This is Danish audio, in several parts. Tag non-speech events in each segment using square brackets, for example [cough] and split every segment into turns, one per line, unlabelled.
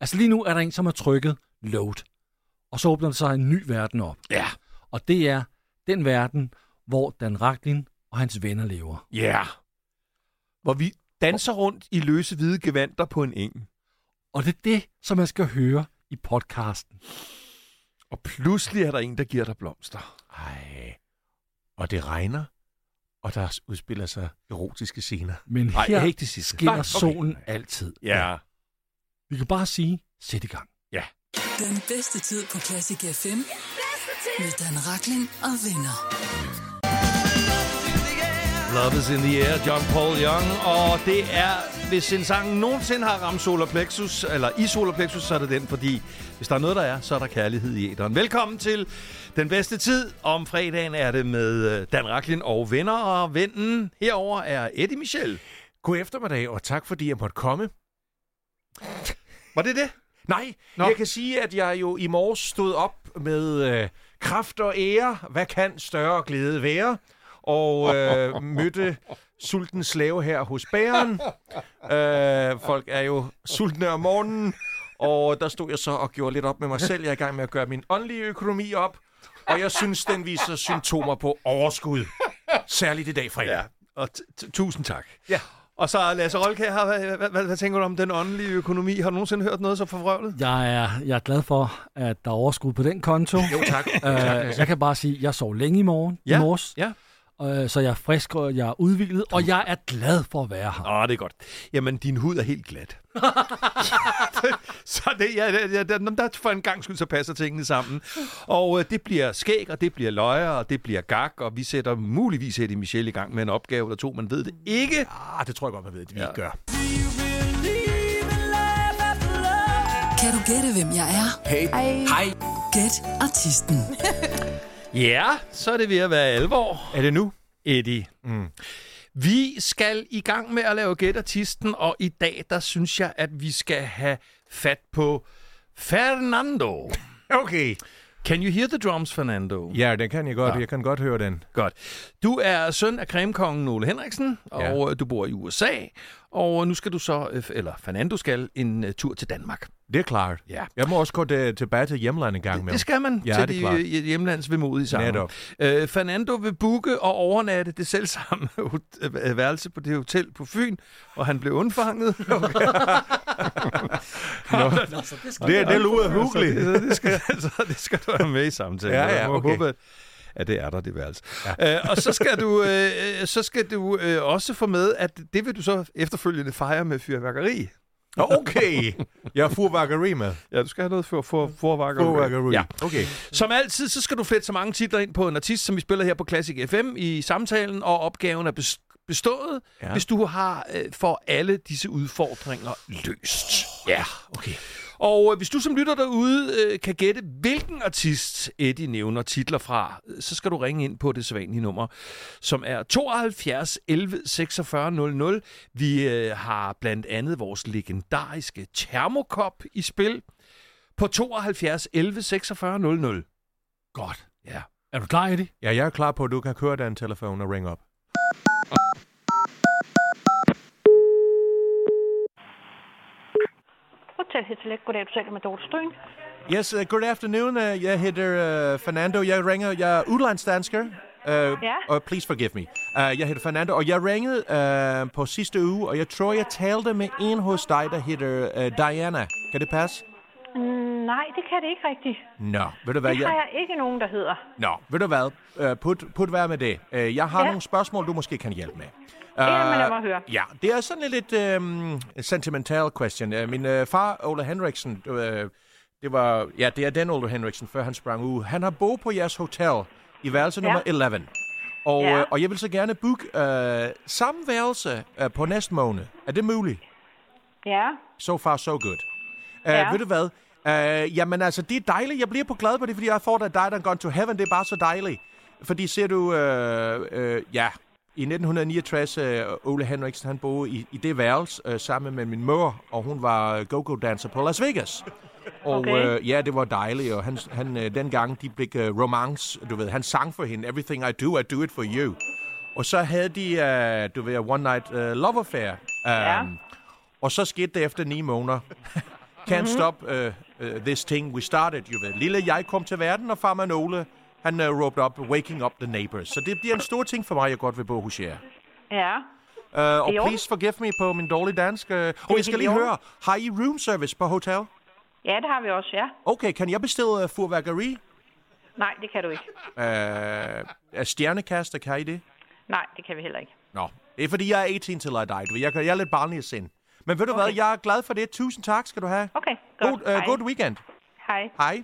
Altså lige nu er der en, som har trykket load. Og så åbner der sig en ny verden op.
Ja.
Og det er den verden, hvor Dan Raklin og hans venner lever.
Ja. Yeah. Hvor vi danser rundt i løse hvide gevanter på en eng.
Og det er det, som man skal høre i podcasten.
Og pludselig er der en, der giver dig blomster.
Ej. Og det regner, og der udspiller sig erotiske scener.
Men
Nej,
her
ikke det sidste.
skinner
Nej, okay.
solen altid.
Ja.
Vi kan bare sige, sæt i gang.
Den bedste tid på Classic FM. Med Dan Rakling og venner.
Love is in the air, John Paul Young. Og det er, hvis en sang nogensinde har ramt solar plexus, eller i solar plexus, så er det den, fordi hvis der er noget, der er, så er der kærlighed i æderen. Velkommen til Den Bedste Tid. Om fredagen er det med øh, Dan Raklin og venner, og vennen herover er Eddie Michel.
God eftermiddag, og tak fordi jeg måtte komme.
Var det det?
Nej,
Nå.
Nå. jeg kan sige, at jeg jo i morges stod op med øh, kraft og ære. Hvad kan større glæde være? Og øh, [laughs] mødte sulten slave her hos bæren. Øh, folk er jo sultne om morgenen. Og der stod jeg så og gjorde lidt op med mig selv. Jeg er i gang med at gøre min åndelige økonomi op. Og jeg synes, den viser symptomer på overskud. Særligt i dag fredag. Ja.
Og t- t- tusind tak.
Ja.
Og så Lasse Rolke her. Hvad, hvad, hvad, hvad tænker du om den åndelige økonomi? Har du nogensinde hørt noget så forvrøvlet?
Jeg er, jeg er glad for, at der er overskud på den konto.
Jo, tak.
[laughs] Øh, jeg kan bare sige, at jeg sov længe i morgen,
Ja,
i morges,
ja.
øh, så jeg er frisk, og jeg er udviklet, og jeg er glad for at være her.
Åh, det er godt. Jamen, din hud er helt glat. så det, ja, ja, ja, der, der for en gang skyld, så passer tingene sammen. Og øh, det bliver skæg, og det bliver løjer, og det bliver gak, og vi sætter muligvis Eddie Michel i gang med en opgave eller to, man ved det ikke.
Ah, det tror jeg godt, man ved, det vi
Ja.
ja. gør.
Kan du gætte, hvem jeg er?
Hej.
Gæt artisten.
Ja, så er det ved at være alvor,
Er det nu?
Eddie. Mm. Vi skal i gang med at lave gætartisten, og i dag, der synes jeg, at vi skal have fat på Fernando.
Okay.
Can you hear the drums, Fernando?
Ja, den kan jeg godt. Ja. Jeg kan godt høre den.
Godt. Du er søn af cremekongen Ole Henriksen, og
Ja.
ja. du bor i USA, og nu skal du så, øh, eller Fernando skal, en uh, tur til Danmark.
Det er klart.
Ja.
Jeg må også gå de, tilbage til hjemlandet en gang med.
Det skal man
Ja,
til
det er
de
klart.
øh, hjemlands vemodige sammen.
Netop.
Øh, Fernando vil booke og overnatte det selv [laughs] samme værelse på det hotel på Fyn, og han blev
[laughs]
undfanget. Okay.
Det, det lurer huggeligt.
Så altså, det
[laughs]
skal, så det skal du have med i samtalen.
Ja, ja,
Jeg må
okay.
håbe, at- at det er der, det værelse. Ja. Øh, og så skal du, øh, øh, så skal du øh, også få med, at det vil du så efterfølgende fejre med fyrværkeri.
Nå, okay. Jeg har furværkeri med.
Ja, du skal have noget for, for, forværkeri.
Furværkeri.
Ja.
Okay.
Som altid, så skal du flette så mange titler ind på en artist, som vi spiller her på Classic FM i samtalen, og opgaven er bes- bestået, ja.
Ja.
hvis du har øh, for alle disse udfordringer løst. Ja.
Okay.
Og øh, hvis du som lytter derude øh, kan gætte, hvilken artist Eddie nævner titler fra, øh, så skal du ringe ind på det sædvanlige nummer, som er 72 11 46 00. Vi øh, har blandt andet vores legendariske termokop i spil på 72 11 46 00.
Godt.
Ja.
Er du klar, Eddie?
Ja, jeg er klar på, at du kan køre den telefon og ringe op.
Hotel Hetelek, goddag, du taler med Dorte Støen.
Yes, uh, good afternoon. Uh, jeg hedder uh, Fernando. Jeg ringer. Jeg er udlandsdansker. Uh,
Ja.
uh, please forgive me. Uh, jeg hedder Fernando, og jeg ringede uh, på sidste uge, og jeg tror, jeg talte med en hos dig, der hedder uh, Diana. Kan det passe?
Mm, nej, det kan det ikke rigtigt.
Nå, ved du hvad?
Det har jeg ikke nogen, der hedder.
Nå, ved du hvad? Uh, put, put vær med det. Uh, jeg har
Ja.
nogle spørgsmål, du måske kan hjælpe med. Uh,
Ja, men lad mig høre.
Ja, det er sådan en lidt um, sentimental question. Uh, min uh, far, Ole Henriksen, uh, det var, ja, det er den Ole Henriksen, før han sprang ud. Han har boet på jeres hotel i værelse
Ja.
nummer 11. Og,
Ja.
uh, og jeg vil så gerne booke uh, samme værelse uh, på næste måned. Er det muligt?
Ja,
So far, so good. Uh,
Ja.
Ved du hvad? Uh, jamen altså, det er dejligt. Jeg bliver på glad på det, fordi jeg får dig, dig, der gone to heaven. Det er bare så dejligt. Fordi ser du, uh, uh, ja, i 1969, uh, Ole Henriksen, han boede i, i det værelse uh, sammen med min mor, og hun var øh, go-go-danser på Las Vegas. Og
Okay.
øh, ja, det var dejligt, og han, han, øh, dengang de blev øh, romance, du ved, han sang for hende, Everything I Do, I Do It For You. Og så havde de, øh, du uh, ved, One Night øh, Love Affair. Um,
Ja.
Og så skete det efter ni måneder,
Mhm.
Can't Stop uh, uh, This Thing We Started. Jo, ved. lille jeg kom til verden, og far Manole, han uh, råbte op, Waking Up The Neighbors. Så det bliver en stor ting for mig, jeg godt vil bo hos jer.
Ja.
Uh, og
Jo.
please forgive me på min dårlige dansk. Uh, og jeg skal
helt
lige
i orden.
høre, har I room service på hotel?
Ja, det har vi også, ja.
Okay, kan jeg bestille uh, furværkeri?
Nej, det kan du ikke.
Uh, stjernekaster, kan I det?
Nej, det kan vi heller ikke.
Nå, det er fordi, jeg er 18 til I died. Jeg, kan- jeg er lidt barnlig af sind. Men ved du hvad,
Okay.
jeg er glad for det. Tusind tak skal du have.
Okay, godt.
God, uh,
Hej.
god weekend.
Hej.
Hej.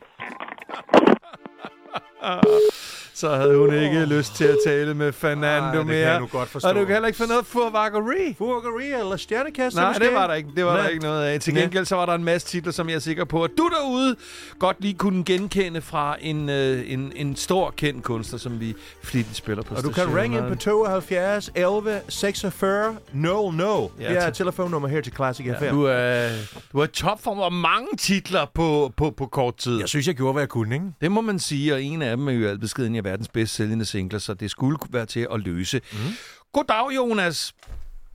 Så havde hun ikke lyst til at tale med Fernando
Ej, det kan
mere.
jeg nu godt forstå.
Og du kan heller ikke finde noget furvakkeri.
Furværkeri eller stjernekaster
Nej,
måske?
det var der ikke. Det var der
Nej.
ikke noget af. Til
Nej.
gengæld så var der en masse titler, som jeg er sikker på, at du derude godt lige kunne genkende fra en, øh, en, en stor kendt kunstner, som vi flittigt spiller på
Og du kan ringe ind på 72 11 46 00.
Ja,
det er
tak.
telefonnummer her til Classic ja, FM.
Du er, du er i topform og mange titler på, på, på kort tid.
Jeg synes, jeg gjorde, hvad jeg kunne, ikke?
Det må man sige, og en af dem er jo alt beskeden af verdens bedst sælgende singler, så det skulle kunne være til at løse. Mm. Goddag, Jonas.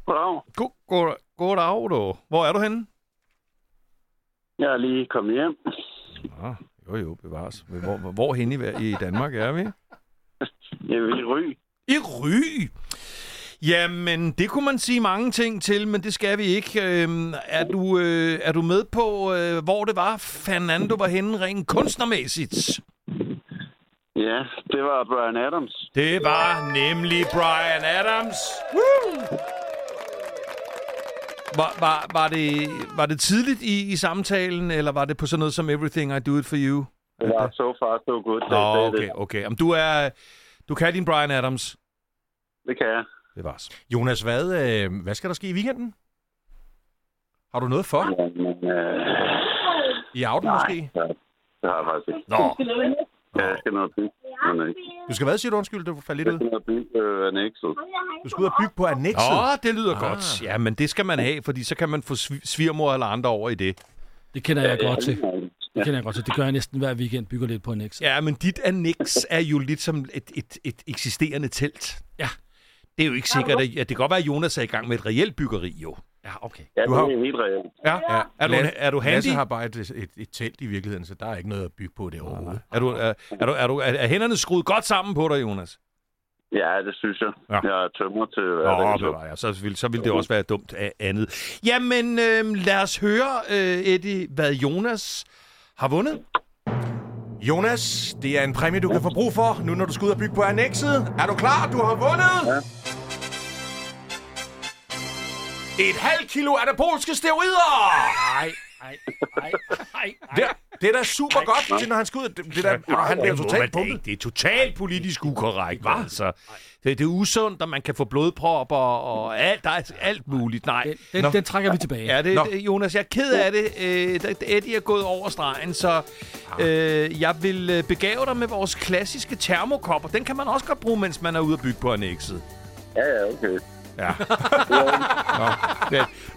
Goddag.
God, god, goddag, du. Hvor er du henne?
Jeg er lige kommet hjem. [laughs]
Ah, jo, jo, bevares. Men Hvor, hvor, hvor hen i, ver- i Danmark er vi?
Jeg vil i Ry.
I Ry. Jamen, det kunne man sige mange ting til, men det skal vi ikke. Øhm, er, du, øh, er du med på, øh, hvor det var, Fernando var henne rent kunstnermæssigt?
Ja, det var Brian Adams.
Det var nemlig Brian Adams. Woo! Var, var, var, det, var det tidligt i, i samtalen, eller var det på sådan noget som Everything I Do It For You?
Det var so far so good. da
Nå,
jeg sagde
okay,
Det,
okay. Jamen, du, er, du kan din Brian Adams.
det kan jeg.
Det var så.
Jonas, hvad, øh, hvad skal der ske i weekenden? Har du noget for?
Ja, men, øh,
I aften måske?
det har jeg faktisk ikke.
Nå,
Ja, jeg skal ned og bygge. Men, øh,
Du skal hvad, siger du? Undskyld, du faldt lidt
Jeg
ud.
skal ned og bygge øh, annexet.
Du skal ud og bygge på annexet.
Nå, det lyder ah. godt. Ja, men det skal man have, fordi så kan man få sv- svigermor eller andre over i det.
Det kender jeg godt til. Det
Ja.
kender jeg godt til. Det gør jeg næsten hver weekend, bygger lidt på en ekstra.
Ja, men dit annex er jo lidt som et, et, et eksisterende telt.
Ja.
Det er jo ikke sikkert, at ja, det kan godt være, at Jonas er i gang med et reelt byggeri, jo. Ja, okay.
Ja,
Du har-
det er helt reelt.
Ja. ja.
Er du- er du handy?
Lasse har bare et, et, et telt i virkeligheden, så der er ikke noget at bygge på det overhovedet.
Er, du, er, er, du, er, du, er, er hænderne skruet godt sammen på dig, Jonas?
Ja, det synes jeg.
Ja.
Jeg er tømmer til
Nå,
hverdagen.
det var jeg. Så ville, så ville det også være dumt af andet. Jamen, øh, lad os høre, øh, Eddie, hvad Jonas har vundet.
Jonas, det er en præmie, du kan få brug for, nu når du skal ud og bygge på annexet. Er du klar? Du har vundet! Ja. Et halvt kilo anaboliske steroider!
Nej, nej, nej, nej,
Det, det er da super godt, til når han skal ud. Det, det der, og han bliver
Det må man
totalt
da
pumpet.
ikke. Det er totalt politisk ukorrekt, hva? Altså, det, det er usundt, og man kan få blodpropper og alt, der er alt muligt. Nej.
Den, den, den trækker vi tilbage.
Ja, det,
Nå.
det, Jonas, jeg er ked af det. Øh, da- da Eddie er gået over stregen, så
Ah.
øh, jeg vil øh, begave dig med vores klassiske termokopper. Den kan man også godt bruge, mens man er ude og bygge på annexet.
Ja, ja, okay.
Ja. Nå.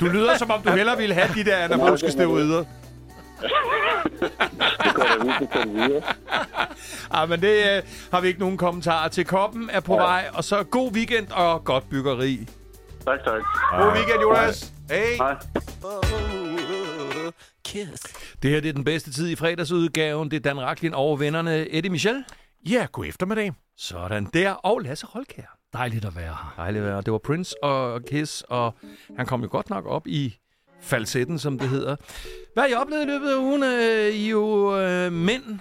Du lyder, som om du hellere ville have de der
[laughs]
anaboliske steroider.
Det går da ud til den videre.
Ja, men det øh, har vi ikke nogen kommentarer til. Koppen er på vej, og så god weekend og godt byggeri.
Tak, tak.
God weekend, Jonas. Hey.
Hej.
Det her det er den bedste tid i fredagsudgaven. Det er Dan Raklin over vennerne Eddie Michel.
Ja, god eftermiddag.
Sådan der. Og Lasse Holkær.
Dejligt at være her.
Dejligt vejr. Det var Prince og Kiss, og han kom jo godt nok op i falsetten, som det hedder. Hvad har I oplevet i løbet af ugen? Øh, I er jo øh, mænd,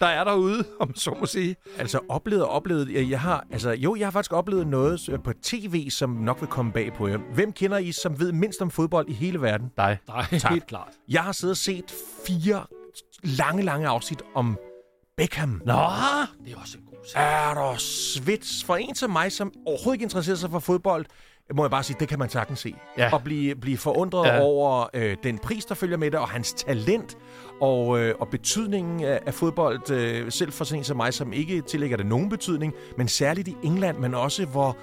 der er derude, [laughs] om så må sige.
Altså, oplevet og oplevet. Jeg, jeg har, altså, jo, jeg har faktisk oplevet noget øh, på tv, som nok vil komme bag på jer. Hvem kender I, som ved mindst om fodbold i hele verden?
Dig.
Nej, helt klart.
Jeg har siddet og set fire lange, lange afsnit om Beckham.
Nå,
Det er også en god sag.
Er der svits for en som mig, som overhovedet ikke interesserer sig for fodbold, må jeg bare sige, det kan man sagtens se.
Ja.
Og blive, blive forundret
Ja.
ja. over øh, den pris, der følger med det, og hans talent, og, øh, og betydningen af, af fodbold, øh, selv for sådan en som mig, som ikke tillægger det nogen betydning, men særligt i England, men også hvor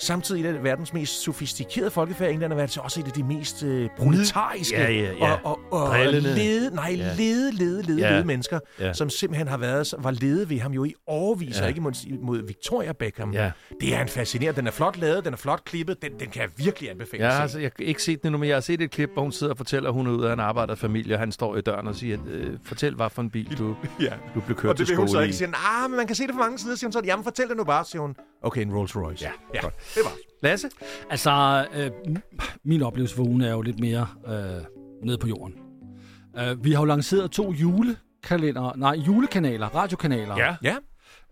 Samtidig et af verdens mest sofistikerede folkefærd. England er altså også et af de mest øh, proletariske
Ja, ja, ja.
og, og, og
Drillende.
lede, nej,
Ja.
lede, lede, lede,
Ja.
lede mennesker,
Ja.
som simpelthen har været, var lede ved ham jo i årevis,
Ja.
og ikke mod, mod Victoria Beckham.
Ja.
Det er en fascinerende. Den er flot lavet, den er flot klippet, den, den kan jeg virkelig anbefale
Jeg
at se.
har, altså, jeg har ikke set det endnu, men jeg har set et klip, hvor hun sidder og fortæller, at hun er ude af en arbejderfamilie, og han står i døren og siger, øh, fortæl, hvad for en bil du,
[laughs] Ja.
du blev kørt
Og det
til
vil hun så
skole i.
ikke sige, nej, men man kan se det fra mange sider, siger hun så. Jamen, fortæl det nu bare, siger hun. Okay, en Rolls Royce. Ja, ja det var.
Lasse?
Altså, øh, min oplevelse for ugen er jo lidt mere øh, nede på jorden. Øh, vi har jo lanceret to julekalender, nej, julekanaler, radiokanaler.
Ja.
Ja.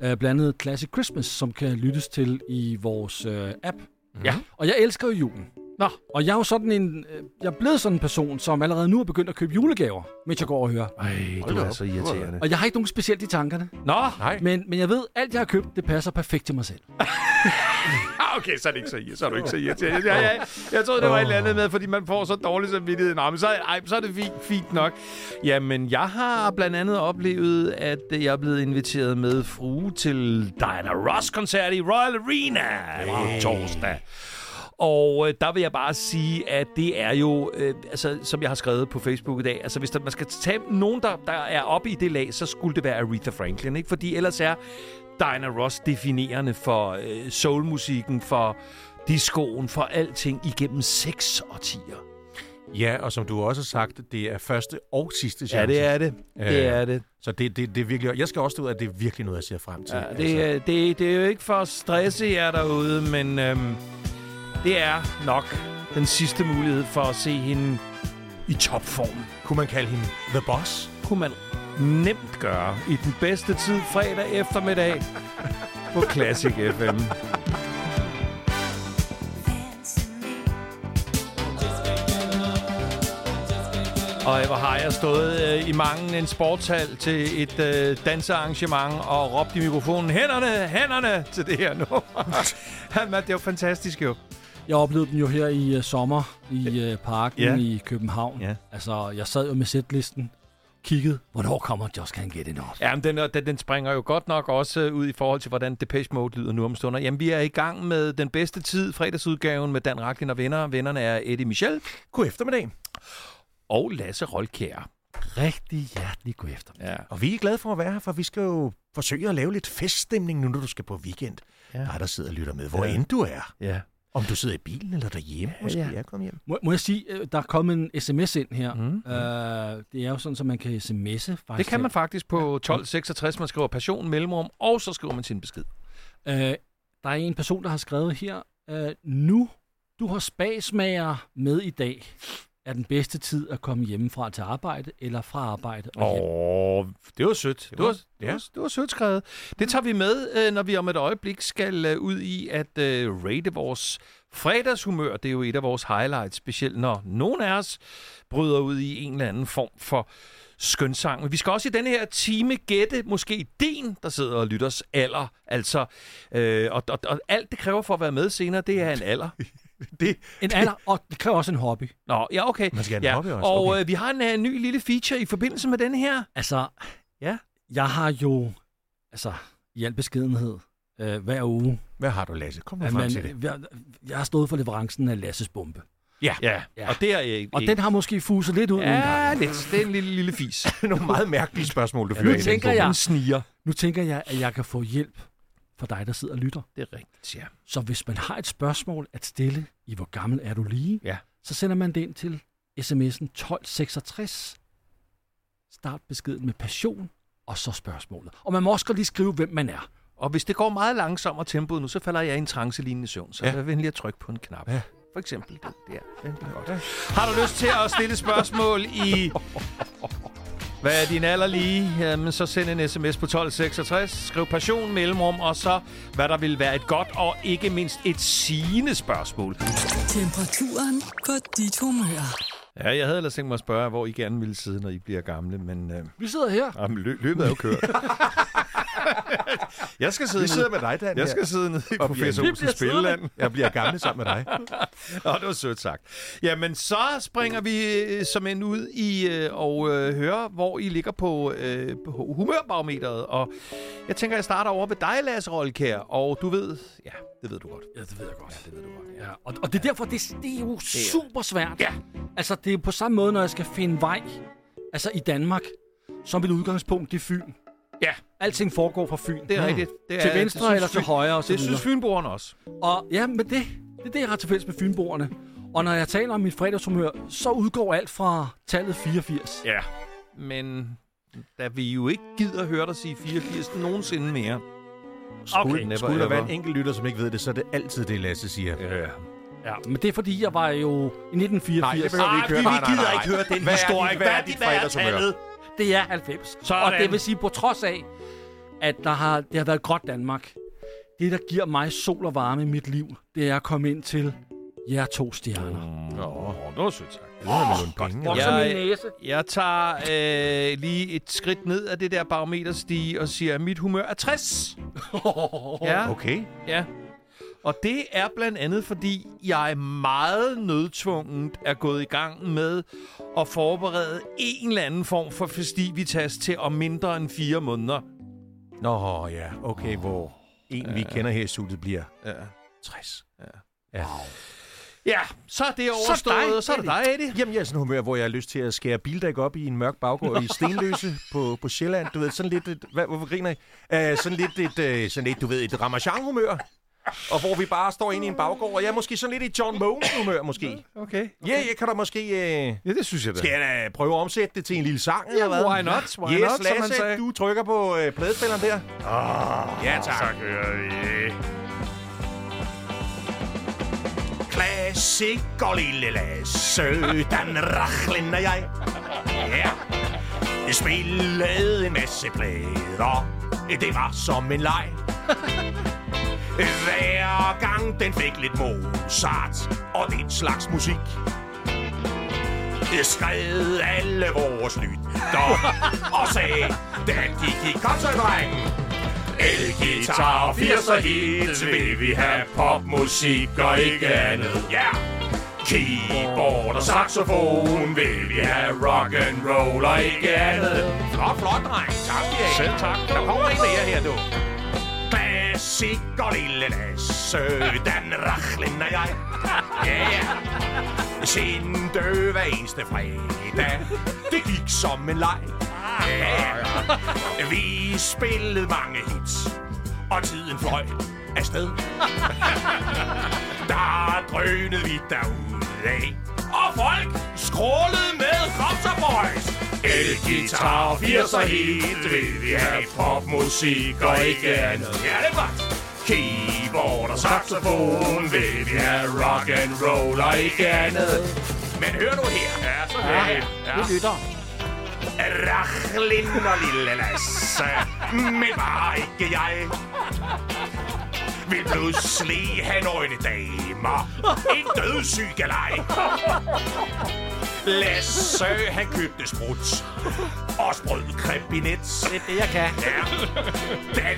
Øh, blandt andet Classic Christmas, som kan lyttes til i vores øh, app.
Ja.
Og jeg elsker jo julen. Nå. Og jeg er jo sådan en, øh, jeg er blevet sådan en person, som allerede nu er begyndt at købe julegaver, mens jeg går og hører.
Ej, du er så irriterende.
Og jeg har ikke nogen specielt i tankerne.
Nå, nej.
Men, men jeg ved, alt jeg har købt, det passer perfekt til mig selv.
Ah, okay, så er, det ikke så, irri- så er du ikke så irriterende. Ja, ja, jeg troede, det var et eller andet med, fordi man får så dårlig samvittighed. Nå, men så, ej, så er det fint, fint nok. Jamen, jeg har blandt andet oplevet, at øh, jeg er blevet inviteret med frue til Diana Ross-koncert i Royal Arena hey. torsdag. Og øh, der vil jeg bare sige, at det er jo, øh, altså, som jeg har skrevet på Facebook i dag, altså hvis der, man skal tage nogen, der, der er oppe i det lag, så skulle det være Aretha Franklin, ikke? Fordi ellers er Diana Ross definerende for øh, soulmusikken, for discoen, for alting igennem seks årtier.
Ja, og som du også har sagt, det er første og sidste chance.
det. Øh,
Det er
det.
Så det, det, det er virkelig... Jeg skal også ud af, at det er virkelig noget, jeg ser frem til.
Ja,
Altså,
det, er, det, det er jo ikke for at stresse jer derude, men øhm, det er nok den sidste mulighed for at se hende i topform.
Kunne man kalde hende The Boss?
kunne man nemt gøre i den bedste tid fredag eftermiddag på Classic FM. Og hvor har jeg stået øh, i mangen en sportshal til et øh, dansearrangement og råbt i mikrofonen, hænderne, hænderne til det her [laughs] nummer. Jamen, det er jo fantastisk jo.
Jeg oplevede den jo her i uh, sommer i uh, parken
Ja.
yeah. i København.
Ja.
Altså, jeg sad jo med sætlisten, kiggede, hvornår kommer Just Can't Get Enough?
Jamen, den, er- den, den springer jo godt nok også øh, ud i forhold til, hvordan Depeche Mode lyder nu om stunder. Jamen, vi er i gang med den bedste tid, fredagsudgaven med Dan Raklin og venner. Vennerne er Eddie Michel
God eftermiddag.
og Lasse Rolkær.
Rigtig hjertelig god efter.
Ja.
Og vi er glade for at være her, for vi skal jo forsøge at lave lidt feststemning nu, når du skal på weekend.
Ja.
Ja. Der er der sidder og lytter med, hvor
Ja.
ja. end du er.
ja.
Om du sidder i bilen eller derhjemme, ja, måske
ja.
ja. er kommet hjem.
Må, må jeg sige, øh, der er kommet en sms ind her. Mm. Uh, det er jo sådan, at man kan sms'e faktisk.
Det kan man faktisk på 1266. Man skriver passion, mellemrum, og så skriver man sin besked.
Uh, der er en person, der har skrevet her, uh, nu du har spagsmager med i dag, er den bedste tid at komme hjemmefra til arbejde, eller fra arbejde og hjem.
Åh, det var sødt. Det var, det var,
ja.
det var sødt skrevet. Det tager vi med, øh, når vi om et øjeblik skal øh, ud i at øh, rate vores fredagshumør. Det er jo et af vores highlights, specielt når nogen af os bryder ud i en eller anden form for skønsang. Men vi skal også i denne her time gætte måske din, der sidder og lytter os alder. Altså, øh, og, og, og alt det kræver for at være med senere, det er en alder.
Det,
En alder, og det kræver også en hobby.
Nå, ja, okay.
Man skal have en
ja.
hobby også,
Og
okay.
øh, vi har en øh, ny lille feature i forbindelse med denne her.
Altså,
Ja.
jeg har jo, altså i al beskedenhed, øh, hver uge,
hvad har du, Lasse? Kom nu
at
frem
man,
til det.
jeg, jeg har stået for leverancen af Lasses bombe.
Ja,
Ja.
og det er ikke...
Og den har måske fuset lidt ud en
Ja,
gang.
lidt. Det er en lille, lille fis.
Det er nogle meget mærkelige spørgsmål, du
nu
fyrer ind i den
tænker
bog.
jeg-
En sniger.
Nu tænker jeg, at jeg kan få hjælp fra dig, der sidder og lytter.
Det er rigtigt, ja.
Så hvis man har et spørgsmål at stille i, hvor gammel er du lige,
Ja.
så sender man det ind til sms'en 1266. Start beskeden med passion, og så spørgsmålet. Og man må også godt lige skrive, hvem man er.
Og hvis det går meget langsommere tempoet nu, så falder jeg i en trancelignende søvn. Så ja.
Ja.
vær venlig at trykke på en knap.
Ja.
For eksempel den der. Den er godt. Har du lyst til at stille spørgsmål i... Hvad er din alder lige? Jamen, så send en sms på 1266. Skriv passion, mellemrum, og så hvad der vil være et godt og ikke mindst et sigende spørgsmål.
Temperaturen på dit humør.
Ja, jeg havde ellers tænkt mig at spørge, hvor I gerne ville sidde, når I bliver gamle, men øh,
Vi sidder her.
[laughs]
jamen, lø- løbet er jo kørt. Jeg skal sidde
Vi sidder
nede,
med dig, Dan.
jeg
her.
skal sidde nede i
Og
professor
vi
Olsens Spilleland.
Jeg bliver gammel sammen med dig.
Nå, det var sødt sagt. Jamen, så springer vi øh, som end ud i øh, og øh, hører, hvor I ligger på, øh, på humørbarometeret. Og jeg tænker, jeg starter over ved dig, Lasse Rolkær. Og du ved... Ja, det ved du godt.
Ja, det ved jeg godt.
Det ved du godt, ja.
Ja, og, og det er derfor, det, det er jo super svært. Ja. Altså, det er jo på samme måde, når jeg skal finde vej, altså i Danmark, som et udgangspunkt, det er Fyn.
Ja.
Alting foregår fra Fyn.
Mhm.
Mm.
Det er rigtigt. Det er,
Til venstre
det synes
eller til
Fyn-
højre og så
Det synes
videre.
Fynboerne også.
Og ja, men det, det er det, jeg har til fælles med fynboerne. Og når jeg taler om mit fredagshumør, så udgår alt fra tallet 84.
Ja. Men da vi jo ikke gider høre dig sige 84 nogensinde mere.
Skulle,
never
okay, skulle der
ever.
være en enkelt lytter, som ikke ved det, så er det altid det, Lasse siger. Øh, Ja.
Ja.
Ja, men det er fordi, jeg var jo i Ah, 1984.
Nej, det behøver Ah, vi ikke høre. Nej, nej, nej. Hvad er dit- hvad er dit fredagshumør?
Det er 90.
Sådan.
Og det vil sige, på trods af, at der har, det har været godt Danmark, det, der giver mig sol og varme i mit liv, det er at komme ind til jer to stjerner. Mm.
Nå, det var sødt sagt.
Det er vel nogle penge. eller
Vokser
hvad?
Jeg-
min næse.
Jeg tager øh, lige et skridt ned af det der barometerstige og siger, at mit humør er 60.
[laughs]
ja,
Okay.
ja. Og det er blandt andet, fordi jeg er meget nødtvungent er gået i gang med at forberede en eller anden form for festivitas til om mindre end fire måneder.
Nå ja, okay, hvor en, vi kender her i studiet, bliver
Ja.
60.
Ja, så er det overstået, og så er det dig, Eddie.
Jamen, jeg er i sådan en humør, hvor jeg har lyst til at skære bildæk op i en mørk baggård i Stenløse på, på Sjælland. Du ved, sådan lidt et... Hvad, hvorfor griner I? Uh, sådan lidt et, uh, sådan lidt, du ved, et Ramachan-humør. Og hvor vi bare står inde i en baggård, og jeg er måske sådan lidt i John Mogens-humør, måske. Ja,
Okay.
yeah, jeg kan da måske... Uh,
Ja, det synes jeg da.
skal jeg da prøve at omsætte det til en lille sang, eller hvad?
why not? Why
yes,
not, som man
Lasse,
sagde. Ah,
du trykker på øh, pladespilleren der. Oh, ja, tak. Så kører vi. Klassik og lille Lasse, den rachlen og jeg. Ja. Vi spillede en masse plader. Det var som en leg. Hver gang den fik lidt Mozart og den slags musik. Det skred alle vores lytter og sagde, den gik i koncertdrengen. Elgitar og 80'er hits vil vi have popmusik og ikke andet. Ja, yeah. keyboard og saxofon vil vi have rock and roll og ikke andet. Flot, flot, dreng. Tak, ja. Selv tak. Der kommer ikke mere her, du. Klassik og lille Lasse, den rachlen er jeg. Ja, yeah sin døve hver eneste fredag. Det gik som en leg. Ja. Vi spillede mange hits, og tiden fløj afsted. Der drønede vi derudad, og folk skrålede med Kom så boys! Elgitar og 80'er hit, vil vi have popmusik og ikke andet. Ja, det er godt. Keyboard og saxofon, vil vi have rock and roll og ikke andet. Men hør nu her. Ja, så hører ja, ja.
Det lytter.
Rachlin og lille Lasse, men bare ikke jeg. Vil pludselig have nøgne damer, en dødssyg galej. Lasse, han købte sprut og sprød krebinet.
Det er det, jeg kan.
Ja.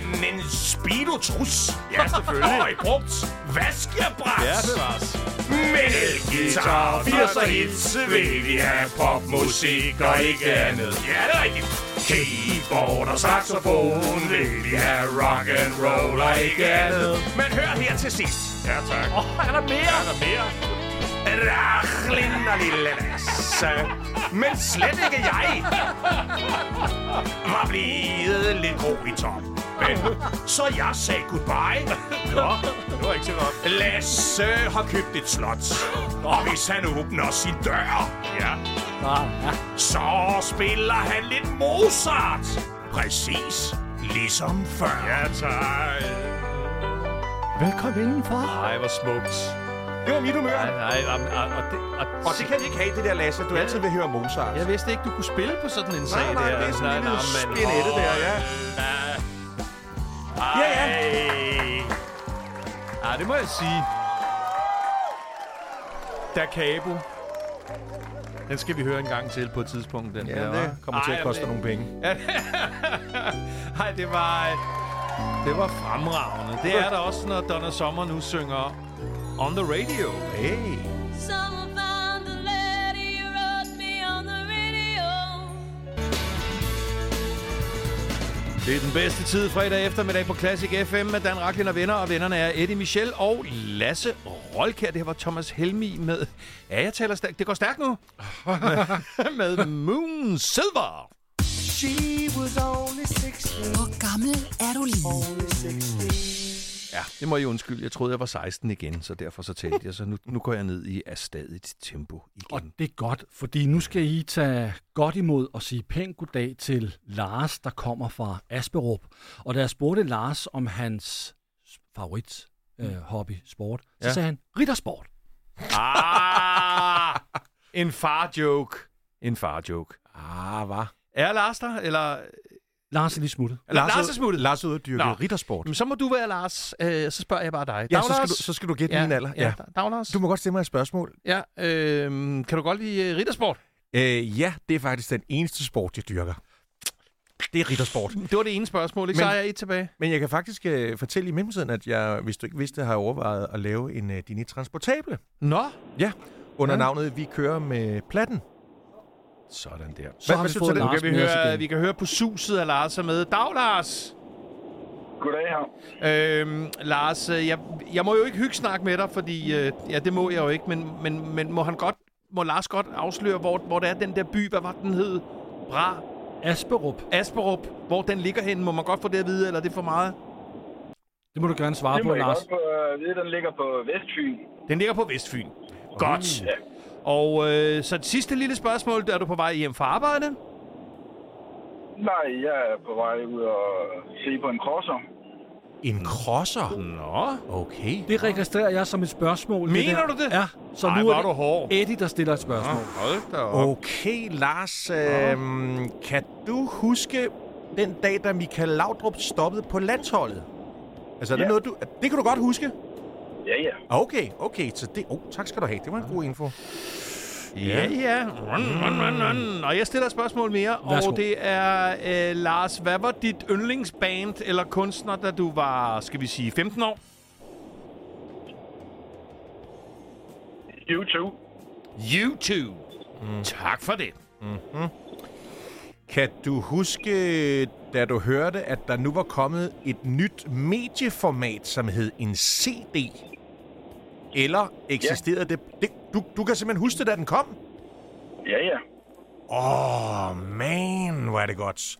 Den en speedotrus. Ja, selvfølgelig. Og i brugt vaskebræt. Ja, det var Men elgitar og 80'er hits vil vi have popmusik og ikke andet. Ja, det er rigtigt. Keyboard og saxofon vil vi have rock and roll og ikke andet. Men hør her til sidst. Ja, tak. Åh, oh, er der mere? Er der mere? Rachlin og lille Lasse, men slet ikke jeg var blevet lidt grå i toppen. Så jeg sagde goodbye. Nå, det var ikke så godt. Lasse har købt et slot, og hvis han åbner sin dør, ja,
Ah,
så spiller han lidt Mozart. Præcis ligesom før. Ja, tak.
Velkommen indenfor.
Ej, hvor smukt.
Det var mit humør.
Ej, nej, og, og, og, det, og,
Og det kan vi ikke have, det der, Lasse. Du altid vil høre Mozart.
Jeg vidste ikke, du kunne spille på sådan en sag
nej, nej,
der.
det er sådan en lille
men-
spinette der, ja.
Ej.
Ja, ja.
Ej, det må jeg sige. Da Cabo. Den skal vi høre en gang til på et tidspunkt. Den
Ja,
der,
det
hva'?
kommer til
Ej,
at
[laughs]
koste
men-
nogle penge.
Nej, det var... Det var fremragende. Det er der også, når Donna Sommer nu synger On The Radio.
Hey.
Someone found the letter you wrote me on the radio.
Det er den bedste tid fredag eftermiddag på Classic FM med Dan Raklin og venner. Og vennerne er Eddie Michel og Lasse Rolkær. Det her var Thomas Helmi med... Ja, jeg taler stærkt. Det går stærkt
[laughs]
nu. med, med Moon Silver.
Hvor gammel er du lige?
Ja, det må jeg undskylde. Jeg troede, jeg var 16 igen, så derfor så talte jeg. Så nu, nu går jeg ned i afstadigt tempo
Og
igen.
det er godt, fordi nu skal I tage godt imod og sige pænt goddag til Lars, der kommer fra Asperup. Og da jeg spurgte Lars om hans favorit øh, hobby, sport, så
Ja.
ja. sagde han riddersport.
Ah, en far-joke. En far-joke.
Ah, hvad?
Er Lars der, eller...
Lars er lige smuttet.
Lars er smuttet.
Lars er ude at dyrke
Nå.
riddersport.
Jamen, så må du være Lars. Øh, så spørger jeg bare dig.
Ja,
Dag,
så skal,
Lars?
du, så skal du gætte ja, min alder.
Ja, Dag, Lars.
Du må godt stille mig et spørgsmål.
Ja, øh, kan du godt lide øh, riddersport?
Øh, ja, det er faktisk den eneste sport, jeg dyrker. Det er riddersport.
Det var det ene spørgsmål, ikke?
Men-
Så er jeg et tilbage.
Men jeg kan faktisk øh, fortælle i mellemtiden, at jeg, hvis du ikke vidste, har jeg overvejet at lave en øh, Dini Transportable.
Nå,
Ja, under
Ja.
ja. navnet Vi kører med platten.
sådan der.
Så har
hvad
vi
synes
fået
du, det-
Nu
Lars
kan vi,
med os
høre,
igen.
vi kan høre på suset af Lars er med. Dag, Lars!
Goddag her.
Øhm, Lars, øh, jeg, jeg må jo ikke hygge snakke med dig, fordi øh, ja, det må jeg jo ikke, men, men, men må, han godt, må Lars godt afsløre, hvor, hvor det er den der by, hvad var den hed? Bra,
Asperup,
Asperup, hvor den ligger henne. Må man godt få det at vide, eller er det for meget?
det må du gerne svare
Det
på,
må jeg
Lars.
godt på, øh, vide, den ligger på Vestfyn.
Den ligger på Vestfyn. Godt. Og øh, så et sidste lille spørgsmål. Er du på vej hjem fra arbejde?
Nej, jeg er på vej ud og se på en crosser.
En crosser?
Nå.
Okay.
Det registrerer jeg som et spørgsmål.
Mener
der.
du det?
Ja. Så
Ej,
nu
hvor
er
er du Ah. hård.
Eddie, der stiller et spørgsmål.
Hold da op.
Okay, Lars. Øh, kan du huske den dag, da Michael Laudrup stoppede på landsholdet? Altså, er det
Ja.
noget, du... Det kan du godt huske?
Ja, ja.
Okay, okay. Så det... Oh, tak skal du have. Det var en god info.
Ja, ja. Run, run, run, run. Og jeg stiller et spørgsmål mere,
Værsgo.
og det er, øh, Lars, hvad var dit yndlingsband eller kunstner, da du var, skal vi sige, 15 år?
YouTube.
YouTube. Mm. Tak for det.
Kan du huske, da du hørte, at der nu var kommet et nyt medieformat, som hed en CD? Eller eksisterede ja. det, det du, du kan simpelthen huske det, da den kom?
Ja, ja.
Åh, oh, man, hvor er det godt.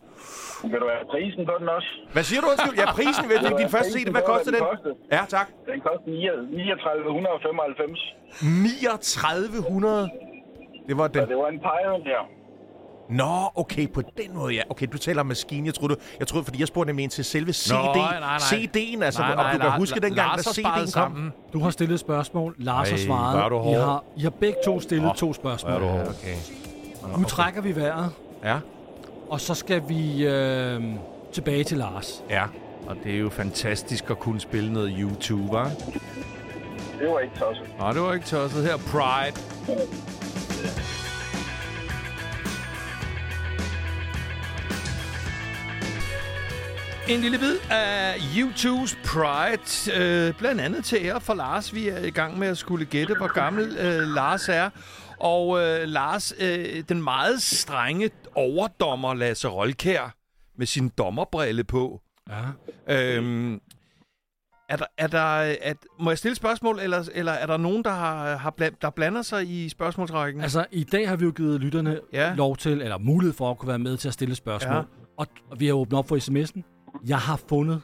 Vil du have prisen på den også?
Hvad siger du, undskyld? Ja, prisen, ved du, din første CD, hvad kostede den? Ja, tak.
Den koster 3995.
3900. Det var den.
Og det var en Pioneer.
Nå, okay, på den måde, ja. Okay, du taler om maskinen. Jeg troede, du, jeg troede fordi jeg spurgte nemlig ind til selve CD.
nej, nej.
CD'en, altså,
Nej,
om
nej,
du
La-
kan huske
La-
dengang, da
Lars har sparet
CD'en kom.
sammen.
Du har stillet et spørgsmål. Lars har
Ej,
svaret.
hvor er du
I,
hård.
har, I har begge to stillet to spørgsmål.
Okay.
Nu trækker vi vejret,
Ja,
og så skal vi øh, tilbage til Lars.
ja.
Og det er jo fantastisk at kunne spille noget YouTube, hva'?
Det var ikke tosset.
Nå, det var ikke tosset her. Pride. En lille bid af YouTubes Pride, øh, blandt andet til ære for Lars. Vi er i gang med at skulle gætte, hvor gammel øh, Lars er. Og øh, Lars, øh, den meget strenge overdommer Lasse Rolkær, med sin dommerbrille på.
Ja.
Øhm, er der, er der, at, må jeg stille spørgsmål, eller, eller er der nogen, der, har, har bland, der blander sig i spørgsmålsrækken?
Altså, i dag har vi jo givet lytterne
Ja.
ja. lov til, eller mulighed for at kunne være med til at stille spørgsmål.
Ja.
Ja. Og, og vi har åbnet op for sms'en. Jeg har fundet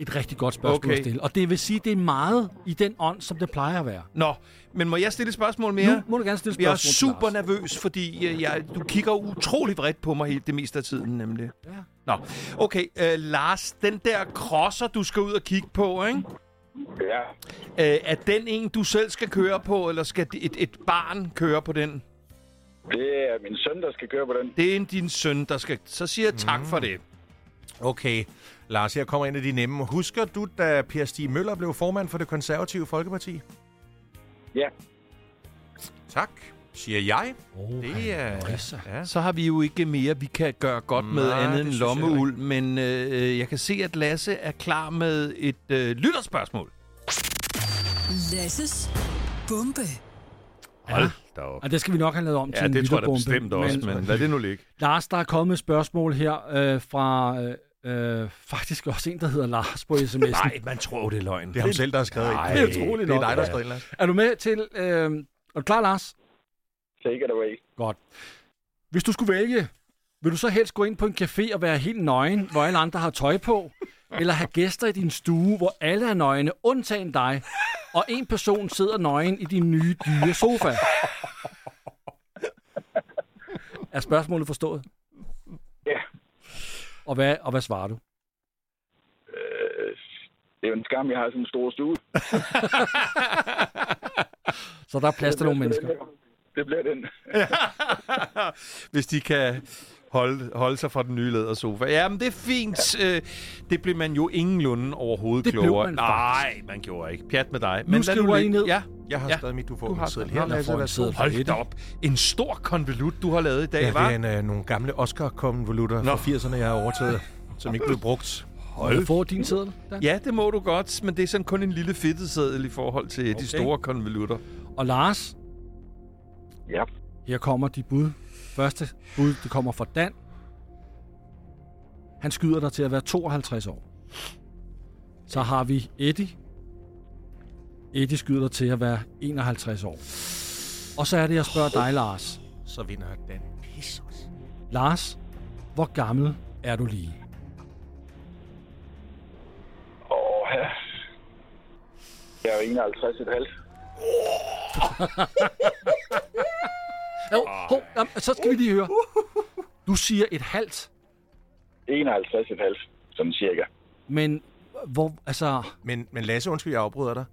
et rigtig godt spørgsmål
Okay.
at stille. Og det vil sige, det er meget i den ånd, som det plejer at være.
Nå, men må jeg stille et spørgsmål mere?
Nu må du gerne stille spørgsmål
jeg er
til
super
Lars.
nervøs, fordi øh, jeg, du kigger utrolig vredt på mig helt det meste af tiden, nemlig. Ja. Nå, okay. Øh, Lars, den der crosser, du skal ud og kigge på, ikke?
Ja.
Øh, er den en, du selv skal køre på, eller skal et, et barn køre på den?
Det er min søn, der skal køre på den.
Det er en din søn, der skal... Så siger jeg tak
Mm.
for det.
Okay. Lars, her kommer en af de nemme. Husker du, da Per Stig Møller blev formand for det konservative Folkeparti?
Ja.
Tak. siger jeg.
Oh,
Det er... Ja.
Så har vi jo ikke mere, vi kan gøre godt Nej, med
Nej,
andet
det
end
synes jeg heller
lommeuld, men øh, jeg kan se, at Lasse er klar med et øh, lytterspørgsmål.
Lasses bombe.
Hold
da op.
Og det skal vi nok have lavet om til
Ja,
en
det tror jeg da
lytterbombe,
bestemt også, men lad det nu [laughs] ligge.
Lars, der er kommet et spørgsmål her øh, fra øh, øh, faktisk også en, der hedder Lars på sms'en.
[laughs] Nej, man tror jo, det er løgn.
Det er ham selv, der har skrevet
Nej,
ind.
det er utroligt
Det er
nok,
dig, der har
ja.
skrevet ind, Lars.
Er du med til... Øh, er du klar, Lars?
Take it away.
Godt. Hvis du skulle vælge, vil du så helst gå ind på en café og være helt nøgen, hvor alle andre har tøj på, eller have gæster i din stue, hvor alle er nøgne, undtagen dig, og en person sidder nøgen i din nye, dyre sofa? Er spørgsmålet forstået?
Ja.
Og hvad, og hvad svarer du?
Øh, det er jo en skam, jeg har sådan en stor stue.
Så der er plads til nogle mennesker.
Det bliver den.
[laughs] Hvis de kan holde, holde sig fra den nye lædersofa. Ja, men det er fint. Øh, Det blev man jo ingenlunde overhovedet
Det blev
klogere.
man
Nej, man gjorde ikke. Pjat med dig. Men lad
skriver
ligge.
I ned.
Ja.
Jeg har
Ja.
skrevet mit, du får
Du
min
har
seddel
den.
her. altså,
Nå,
Lasse,
får en
værsgo.
seddel.
Hold
Fedt.
da op. En stor konvolut, du har lavet i dag,
Ja,
var.
det er en, øh, nogle gamle Oscar-konvolutter fra 80'erne, jeg har overtaget, som ikke blev brugt.
Må jeg få din seddel? Dan?
Ja, det må du godt, men det er sådan kun en lille fedteseddel i forhold til okay. de store konvolutter.
Og Lars,
Ja.
Her kommer de bud. Første bud, det kommer fra Dan. Han skyder dig til at være 52 år. Så har vi Eddie. Eddie skyder dig til at være 51 år. Og så er det, jeg spørger dig, Lars.
Så vinder den.
Lars, hvor gammel er du lige?
Og ja. jeg er jo 51 et halvt.
Jo, ho, jamen, så skal vi lige høre. Du siger et halvt,
51 et halvt, sådan cirka.
men hvor, altså,
Men, men Lasse, undskyld, jeg afbryder dig.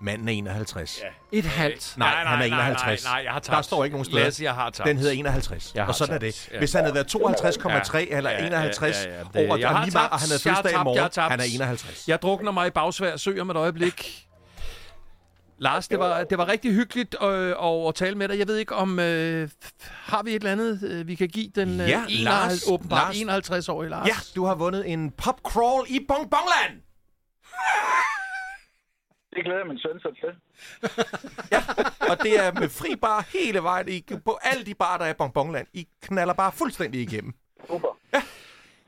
Manden er 51. Ja.
et halvt.
Nej, han er 51.
Nej, nej, jeg har tabt.
Der står ikke nogen steder.
Lasse, jeg har tabt.
Den hedder 51,
Jeg har
og sådan er
tabt,
det.
ja.
Hvis han havde været 52,3 ja. eller
Ja, ja,
51
ja, ja, ja. Det-
over, og
jeg har
lige meget, og han havde
tabt, jeg har
fødselsdag i
tabt, jeg har
morgen,
tabt.
han er 51.
Jeg drukner mig i bagsvær sø om et øjeblik. Lars, det var, det var rigtig hyggeligt øh, at, at tale med dig. Jeg ved ikke, om øh, har vi et eller andet, øh, vi kan give den øh,
Ja,
51,
Lars.
åbenbart
Lars.
51-årige Lars?
Ja, du har vundet en pop crawl i Bongbongland!
Det glæder min søn sig til.
[laughs] Og det er med fri bar hele vejen i, på alle de bar, der er i Bongbongland. I knaller bare fuldstændig igennem.
Super.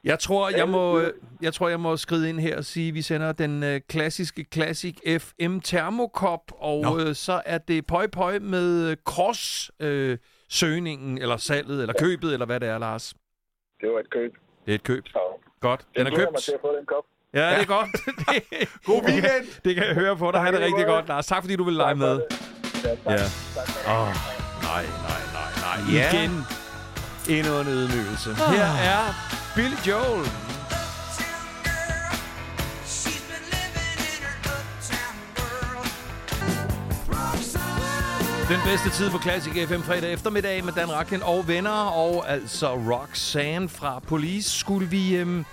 Jeg tror, jeg må, øh, jeg tror, jeg må skride ind her og sige, at vi sender den øh, klassiske Classic FM Thermokop, og
Nå.
øh, så er det pøj pøj med øh, cross øh, søgningen, eller salget, eller købet, eller hvad det er, Lars.
Det var et køb.
Det er et køb.
Så
Godt. Den er
jeg glæder mig
købt.
til at få den kop.
Ja, det er godt. [laughs] Det-
God weekend!
det kan jeg høre på dig. Han er rigtig godt, Lars. Tak, fordi du vil lege med.
Ja, tak.
Ja.
tak. for det.
Nej, nej, nej, nej.
Ja.
Igen. Endnu en ydmygelse. Her er Billy Joel. Den bedste tid på Classic FM fredag eftermiddag med Dan Rakken og venner, og altså Roxanne fra Police. Skulle vi øhm,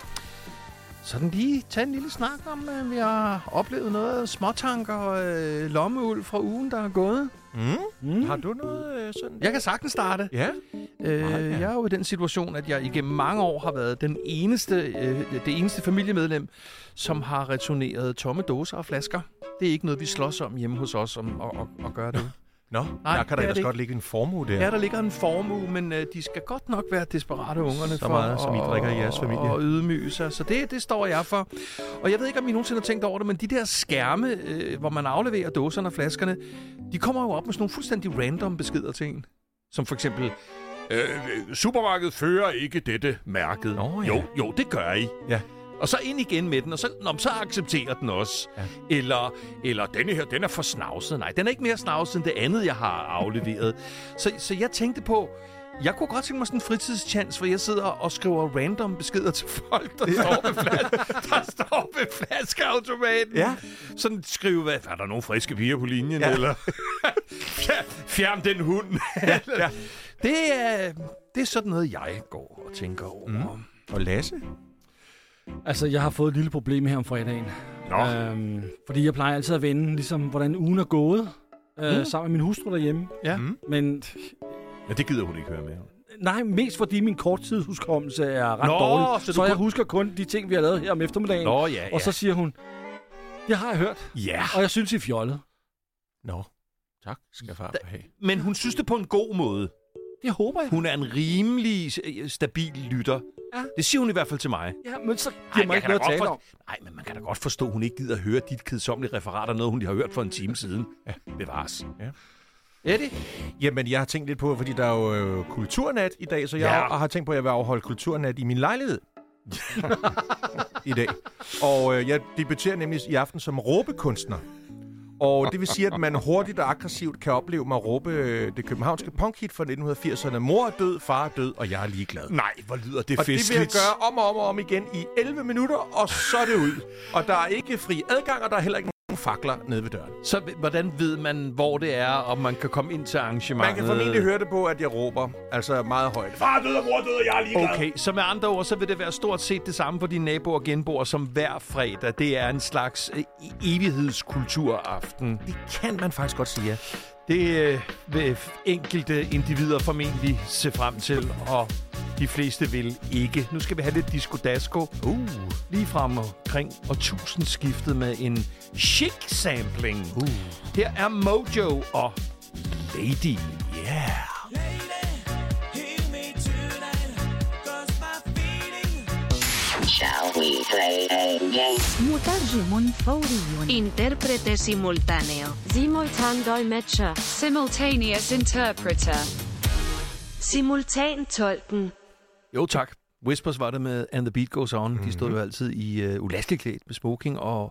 sådan lige tage en lille snak om, øh, vi har oplevet noget småtanker og øh, lommeuld fra ugen, der er gået?
Mm. Har du noget øh, sådan?
Jeg kan sagtens starte.
Ja.
Øh, jeg er jo i den situation, at jeg igennem mange år har været den eneste, øh, det eneste familiemedlem, som har returneret tomme dåser og flasker. Det er ikke noget, vi slås om hjemme hos os, om at, at, at gøre det.
Nå,
Nej,
Nej, der kan
det er
der ellers
det
godt ligge en formue der.
Ja, der ligger en formue, men øh, de skal godt nok være desperate, ungerne,
Så meget,
for
som I
at-
drikker i jeres familie.
Og ydmyge sig. Så det, det står jeg for. Og jeg ved ikke, om I nogensinde har tænkt over det, men de der skærme, øh, hvor man afleverer dåserne og flaskerne, de kommer jo op med sådan nogle fuldstændig random beskeder til en. Som for eksempel, øh, supermarkedet fører ikke dette mærket.
Nå, ja.
Jo, jo, det gør I.
Ja.
Og så ind igen med den, og så, nå, men så accepterer den også. Ja. Eller, eller denne her, den er for snavset. Nej, den er ikke mere snavset end det andet, jeg har afleveret. så, så jeg tænkte på, jeg kunne godt tænke mig sådan en fritidschance, hvor jeg sidder og skriver random beskeder til folk, der, står, ved flas- der står ved flaskeautomaten.
Ja.
Sådan skrive, hvad, er der nogen friske piger på linjen? Ja.
Ja.
Eller "Fjer- fjern den hund. [laughs] ja, ja. Det, er, det er sådan noget, jeg går og tænker over. Mm.
Og Lasse?
Altså, jeg har fået et lille problem her om fredagen.
Nå.
Øhm, fordi jeg plejer altid at vende, ligesom, hvordan ugen er gået. øh, mm. sammen med min hustru derhjemme.
Ja.
Mm. Men
Ja, det gider hun ikke høre mere.
nej, mest fordi min korttidshuskommelse er ret
Nå,
dårlig.
så
Så,
du
jeg
kun-
husker kun de ting, vi har lavet her om eftermiddagen.
Nå, ja, ja.
Og så siger hun, det har jeg hørt,
Ja.
og jeg synes, I er fjollet.
Nå. Tak skal far have.
Men hun synes det på en god måde.
Det håber jeg.
Hun er en rimelig øh, stabil lytter.
Ja.
Det siger hun i hvert fald til mig.
Ja, men så
Ej,
giver mig
jeg
ikke
kan da
noget at
godt
tale
for-
om.
Nej, men man kan da godt forstå, at hun ikke gider at høre dit kedsommelige referat af noget, hun lige har hørt for en time siden. Ja. Bevares.
Ja.
Er det?
Jamen, jeg har tænkt lidt på, fordi der er jo øh, kulturnat i dag, så jeg
Ja.
ja. har tænkt på, at jeg vil afholde kulturnat i min lejlighed. I dag. Og øh, jeg debuterer nemlig i aften som råbekunstner. Og det vil sige, at man hurtigt og aggressivt kan opleve mig råbe øh, det københavnske punkhit fra 1980'erne. Mor er død, far er død, og jeg er ligeglad.
Nej, hvor lyder det
Og det vil jeg
festligt.
gøre om og om og om igen i 11 minutter, og så er det ud. Og der er ikke fri adgang, og der er heller ikke nogen fakler nede ved døren.
Så h- hvordan ved man, hvor det er, om man kan komme ind til
Man
arrangementet?
kan formentlig høre det på, at jeg råber, altså meget højt.
Far død og mor død, og jeg er ligeglad. Okay, så med andre ord, så vil det være stort set det samme for dine naboer og genboer, som hver fredag. Det er en slags øh, e- evighedskulturaften.
Det kan man faktisk godt sige, ja.
Det øh, vil f- enkelte individer formentlig se frem til, og de fleste vil ikke. Nu skal vi have lidt disco-dasko. Uh. Lige frem omkring årtusindskiftet med en chic sampling. Uh. Her er Mojo og Lady. Yeah.
Intérprete simultáneo.
Simultan dolmetscher.
Simultaneous interpreter.
Simultan tolken.
Jo tak. Whispers var det med And the Beat Goes On. Mm-hmm. De stod jo altid i øh, ulaskelig klædt med smoking og,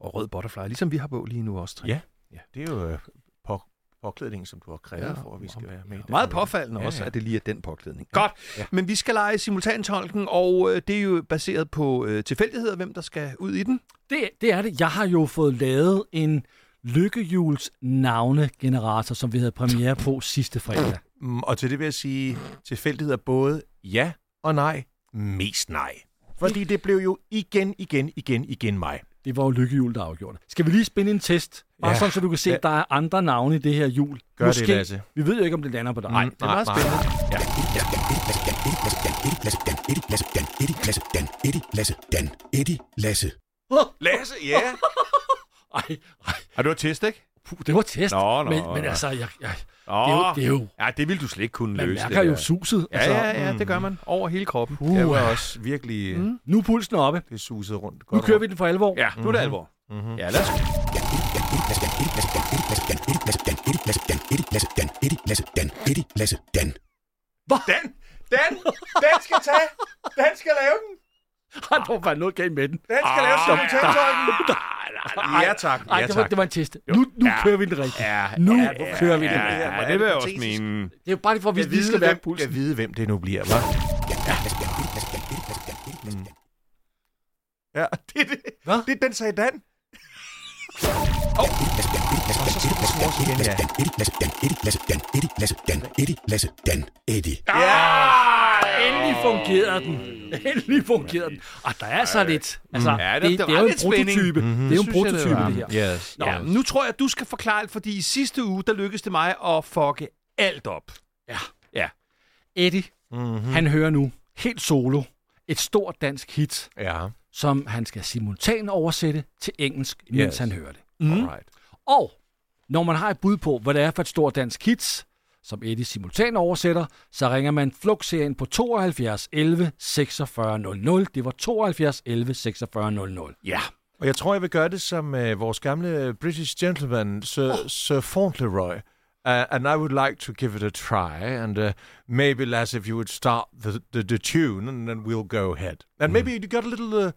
og rød butterfly, ligesom vi har på lige nu også. Trine.
Ja. Ja, det er jo øh, på, påklædningen, som du har krævet
Ja,
ja, for, at vi skal være med. i den
Meget
her.
påfaldende ja,
Ja,
også,
ja.
at det lige er den påklædning. Godt, ja.
Ja.
men vi skal lege simultantolken, og øh, det er jo baseret på øh, tilfældigheder, hvem der skal ud i den.
Det, det er det. Jeg har jo fået lavet en lykkehjuls navnegenerator, som vi havde premiere på sidste fredag.
Mm, Og til det vil jeg sige, tilfældighed er både ja og nej. Mest nej. Fordi det blev jo igen, igen, igen, igen mig. Mm,
Det var jo lykkehjul, der afgjorde det. Skal vi lige spinde en test? Bare ja.
Ja.
sådan, så du kan se, at der er andre navne i det her hjul.
Gør det, Lasse. Mm,
Vi ved jo ikke, om det lander på dig. Nej.
Det er meget spændende.
Lasse, ja.
Ej, ej,
Har du et test, ikke?
puh, det var test.
Nå, nå,
men, men
nå.
altså, jeg, jeg,
Åh,
det, er jo, det er jo...
Ja, det vil du slet ikke kunne
Man
løse.
mærker
det
jo
der.
suset.
Ja,
altså,
ja, ja, det gør man. Over hele kroppen.
Uh,
Jeg var også virkelig mm.
Nu er pulsen oppe.
det susede rundt.
Nu
Godt
kører vi den for alvor.
Ja, nu er det alvor. Mm-hmm. Ja, lad os
Den, den, den skal tage. Den skal lave den.
[laughs] Ej, der var bare noget galt med den.
Den skal ah, lave
[laughs]
simultantolken. Ja tak,
Ej,
ja
det, var,
tak.
det var en test. Nu, nu
Ja.
kører vi den rigtigt.
Ja,
Nu
ja,
kører vi den.
Ja, det vil jeg også mene.
Det er jo bare lige for, at vi lige skal være
hvem,
pulsen.
jeg vide, hvem det nu bliver, hva'? Ja, [laughs] det er det.
Hvad?
Det er den sagde Dan.
Endelig fungerede den. Endelig fungerede den. Og der er så lidt. Altså,
Ja, der-
det,
der
det, er
var
jo en
lidt spænding.
prototype.
Mhm.
Det er jo en
Det synes jeg, det
prototype,
var.
det her.
Yes.
Nå, yes. nu tror jeg, at du skal forklare det, fordi i sidste uge, der lykkedes det mig at fucke alt op.
Eddie,
Mhm.
mm-hmm. han hører nu helt solo et stort dansk hit,
Ja,
som han skal simultan oversætte til engelsk, mens
Yes.
han hører det.
alright.
Og når man har et bud på, hvad det er for et stort dansk hit, som Eddie simultan oversætter, så ringer man flugtserien på 72 11 46 00. Det var 72 11 46 00.
Ja.
Og jeg tror, jeg vil gøre det som øh, vores gamle British gentleman, Sir, oh. Sir Fauntleroy. Uh, and I would like to give it a try, and uh, maybe, Lass, if you would start the, the, the tune, and then we'll go ahead. And maybe
Mm.
you got a little uh,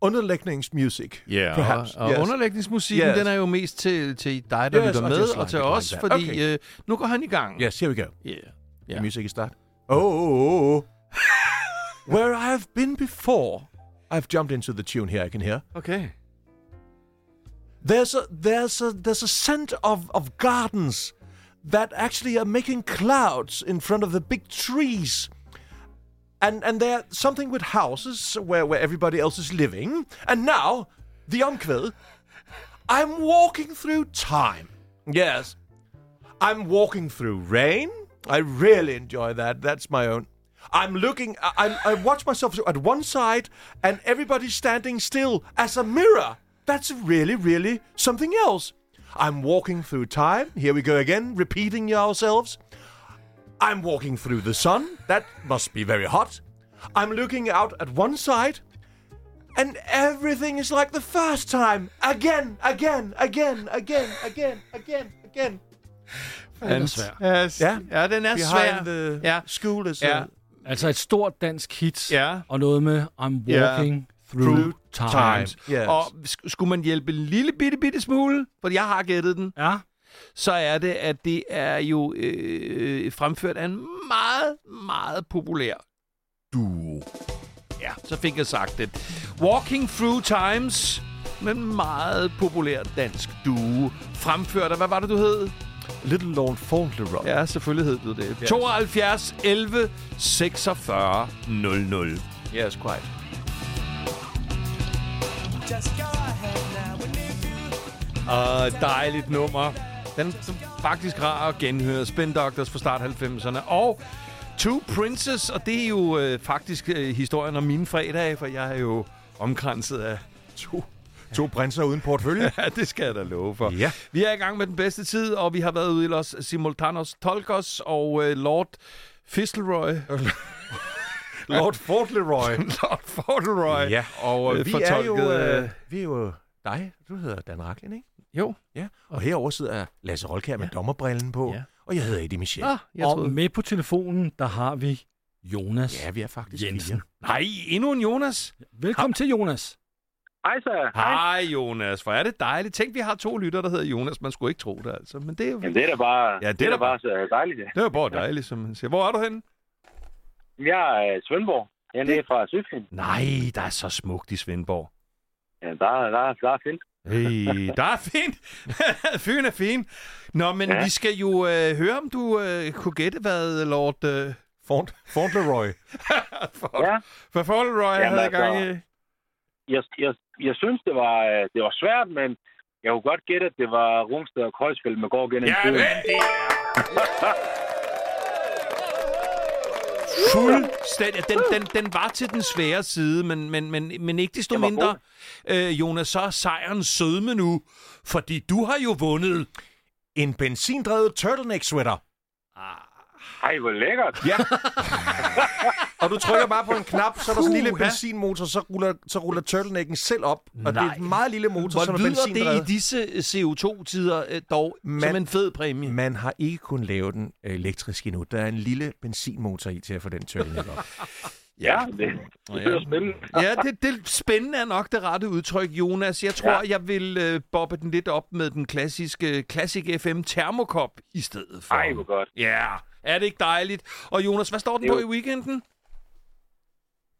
underlægningsmusic, perhaps.
og, og yes. uh, underlægningsmusikken, yes.
Yes.
den er jo mest til, til dig, der yes,
Yes,
lytter
og
med,
just
og
like
til
it
os,
like that.
fordi okay. øh, nu går han i gang.
Yes, here we go.
Yeah.
The
Yeah.
music is start. Oh,
[laughs]
oh, oh, oh. Where I have been before. I've jumped into the tune here, I can hear.
Okay.
There's a there's a there's a scent of, of gardens that actually are making clouds in front of the big trees. And and there something with houses where, where everybody else is living. And now, the Omkved, I'm walking through time. Yes. I'm walking through rain. I really enjoy that. That's my own. I'm looking. I, I'm- I watch myself at one side, and everybody's standing still as a mirror. That's really, really something else. I'm walking through time. Here we go again, repeating ourselves. I'm walking through the sun. That must be very hot. I'm looking out at one side, and everything is like the first time. Again, again, again, again, again, again, again.
Den er
svær.
Ja, ja den er svær.
Behind the
Ja.
school is
Ja.
ja.
Altså et stort dansk hit,
Ja.
og noget med I'm walking through,
Through
time.
Times.
Yes.
Og sk- skulle man hjælpe en lille bitte, bitte smule, for jeg har gættet den,
Ja,
så er det, at det er jo øh, fremført af en meget, meget populær duo. Ja, så fik jeg sagt det. Walking Through Times med en meget populær dansk duo. Fremført af, hvad var det, du hed?
Little Lord Fauntleroy.
Ja, selvfølgelig hed du det. 72 11 46 00.
Yes, quite.
Og dejligt nummer. Den er faktisk rar at genhøre. Spin Doctors fra start 90'erne. Og Two Princess, og det er jo øh, faktisk øh, historien om mine fredage, for jeg er jo omkranset af [laughs] to.
To prinser uden portfølje.
Ja, det skal jeg da love for.
Ja.
Vi er i gang med den bedste tid, og vi har været ude i Los Simultanos Tolkos og øh, Lord Fistleroy.
Lord Fauntleroy.
[laughs] Lord Fauntleroy.
ja, og
øh,
øh, vi er jo...
fortolket, øh,
Øh, vi er jo dig. Du hedder Dan Raklin, ikke?
Jo.
Ja. Og herover sidder Lasse Rolkær med dommerbrillen på.
Ja.
Og jeg hedder Eddie Michel.
Ah, jeg
og
troede-
med på telefonen, der har vi Jonas
Ja, vi er faktisk
Jensen.
fire.
Nej, endnu en Jonas.
Velkommen til, Jonas.
Hej så.
Hej Jonas, hvor er det dejligt. Tænk, vi har to lytter, der hedder Jonas. Man skulle ikke tro det, altså. Men det er jo
Jamen, det er da bare,
Ja, det er
det er
da
da bare så dejligt. ja.
det er jo bare dejligt, som man siger. Hvor er du henne?
Jeg er i Svendborg. Jeg er nede fra Sydfyn.
Nej, der er så smukt i Svendborg.
Ja, der, der, der er fint.
Hey, der er fint. [laughs] Fyn er fin. Nå, men ja.
Ja.
vi skal jo øh, høre, om du øh, kunne gætte, hvad Lord... Øh,
Faunt, Fauntleroy.
[laughs] for,
Ja.
for Fauntleroy
Jamen,
havde
altså,
gang i.
Jeg, jeg, jeg synes, det var, øh, det var svært, men jeg kunne godt gætte, at det var Rungsted og Kreuzfeldt med går gennem
Ja,
tiden.
men det er... Fuldstændig. Den, den, den var til den svære side, men, men, men, men ikke desto
Den var
mindre, øh, Jonas, så er sejren sødme nu, fordi du har jo vundet.
En benzindrevet turtleneck sweater.
Ej, hvor lækkert.
Ja. og du trykker bare på en knap, så er der sådan en lille
Puha.
benzinmotor, så ruller, så ruller turtlenecken selv op. Og det er
Nej.
en meget lille motor, som
Hvor
er
lyder det
benzindrevet.
i disse CO2-tider øh, dog man, som
Man-
en fed præmie? Man,
Man har ikke kun lavet den øh, elektrisk endnu. Der er en lille benzinmotor i til at få den turtleneck op.
Ja, det, det lyder spændende.
ja, det, det spændende er nok det rette udtryk, Jonas. Jeg tror, ja. jeg vil øh, bobbe den lidt op med den klassiske øh, Classic FM Thermokop i stedet for.
Ej, hvor godt.
Ja, er det ikke dejligt? Og Jonas, hvad står den
Jo.
på i weekenden?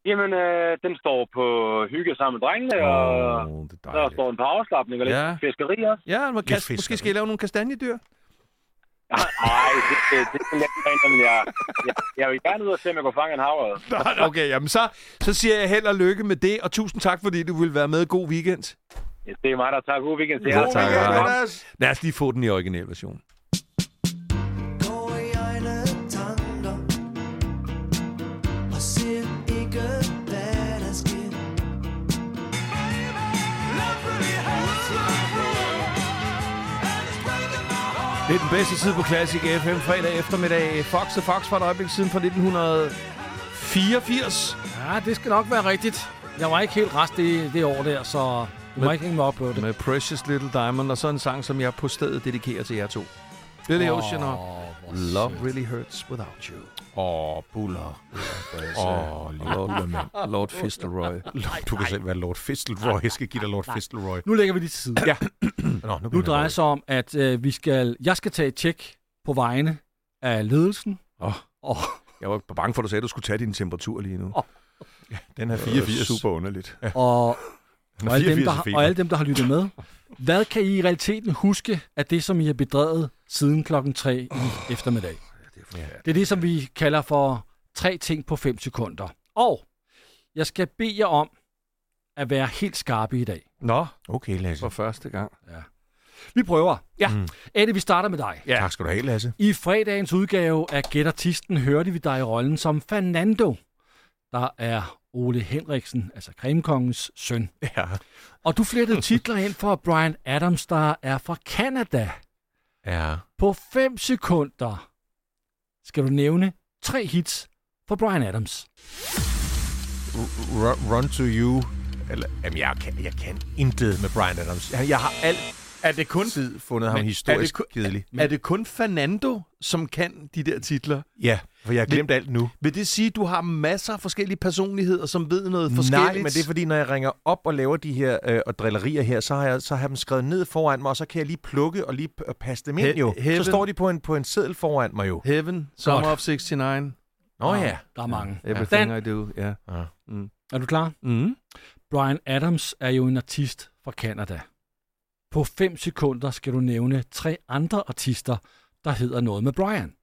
Jamen, øh, den står på hygge sammen med drengene, oh, og
det er
der står en par afslappning og lidt
Ja.
ja. fiskeri også.
Ja, man kan,
fisker,
måske skal
du.
jeg lave nogle kastanjedyr.
Nej, det, det, det er lidt rent, men jeg, jeg, jeg vil gerne ud og se, om jeg kan fange en
[laughs]
havre.
Okay, jamen så, så siger jeg held og lykke med det, og tusind tak, fordi du vil være med. God weekend.
Det er mig, der tager god weekend til
Ja, altså.
jer.
tak.
Ja, tak.
Lad os lige få den i original version. Det er den bedste tid på Classic FM fredag eftermiddag. Fox the Fox var et øjeblik siden fra 1984.
Ja, det skal nok være rigtigt. Jeg var ikke helt rest i det år der, så du må ikke hænge mig op på det.
Med Precious Little Diamond, og så en sang, som jeg på stedet dedikerer til jer to. Billy oh, Ocean og Love Really Hurts Without You.
Åh, oh, buller. Åh, oh,
Lord, Lord Fistleroy.
du kan selv være Lord Fistelroy. Jeg skal give dig Lord Fistelroy.
Nu lægger vi lige til
[coughs]
side.
Ja. Nå, nu,
Nu
bliver
drejer
jeg
det sig om, at øh, vi skal, jeg skal tage et tjek på vegne af ledelsen.
Åh.
Og,
Jeg var bange for, at du sagde, at du skulle tage din temperatur lige nu.
Den her
Det er
84.
super underligt.
og,
Den er
og, alle dem,
84
der
i
har,
feber.
og alle dem, der har lyttet med. Hvad kan I i realiteten huske af det, som I har bedrevet siden klokken 3 i eftermiddag? Det er det, som vi kalder for tre ting på 5 sekunder. Og jeg skal bede jer om at være helt skarpe i dag.
Nå,
Okay, Lasse.
for første gang.
Vi prøver.
Ja.
Mm. Eddie, vi starter med dig.
Ja.
Tak skal du have, Lasse.
I fredagens udgave af Gæt Artisten hørte vi dig i rollen som Fernando, der er Ole Henriksen, altså Cremekongens søn.
Ja.
Og du flettede titler ind for Brian Adams, der er fra Canada.
Ja.
På 5 sekunder skal du nævne tre hits for Brian Adams.
Run, run to you. Eller, jamen, jeg kan, jeg kan intet med Brian Adams. Jeg, jeg har altid
Er det kun,
fundet ham
Men er
historisk
det ku-
kedelig.
er det kun Fernando, som kan de der titler?
Ja, for jeg har glemt alt nu.
Vil det sige, at du har masser af forskellige personligheder, som ved noget forskelligt?
Nej, men det er fordi, når jeg ringer op og laver de her øh, og drillerier her, så har, jeg, så har jeg dem skrevet ned foran mig, og så kan jeg lige plukke og lige p- og passe dem ind
He-
jo.
heaven.
Så står de på en, på en seddel foran mig jo.
Heaven, Summer of 69,
Nå ja.
Der er mange.
Everything
Dan.
I Do. Ja.
Er du klar?
Mm.
Brian Adams er jo en artist fra Canada. På 5 sekunder skal du nævne tre andre artister, der hedder noget med Brian.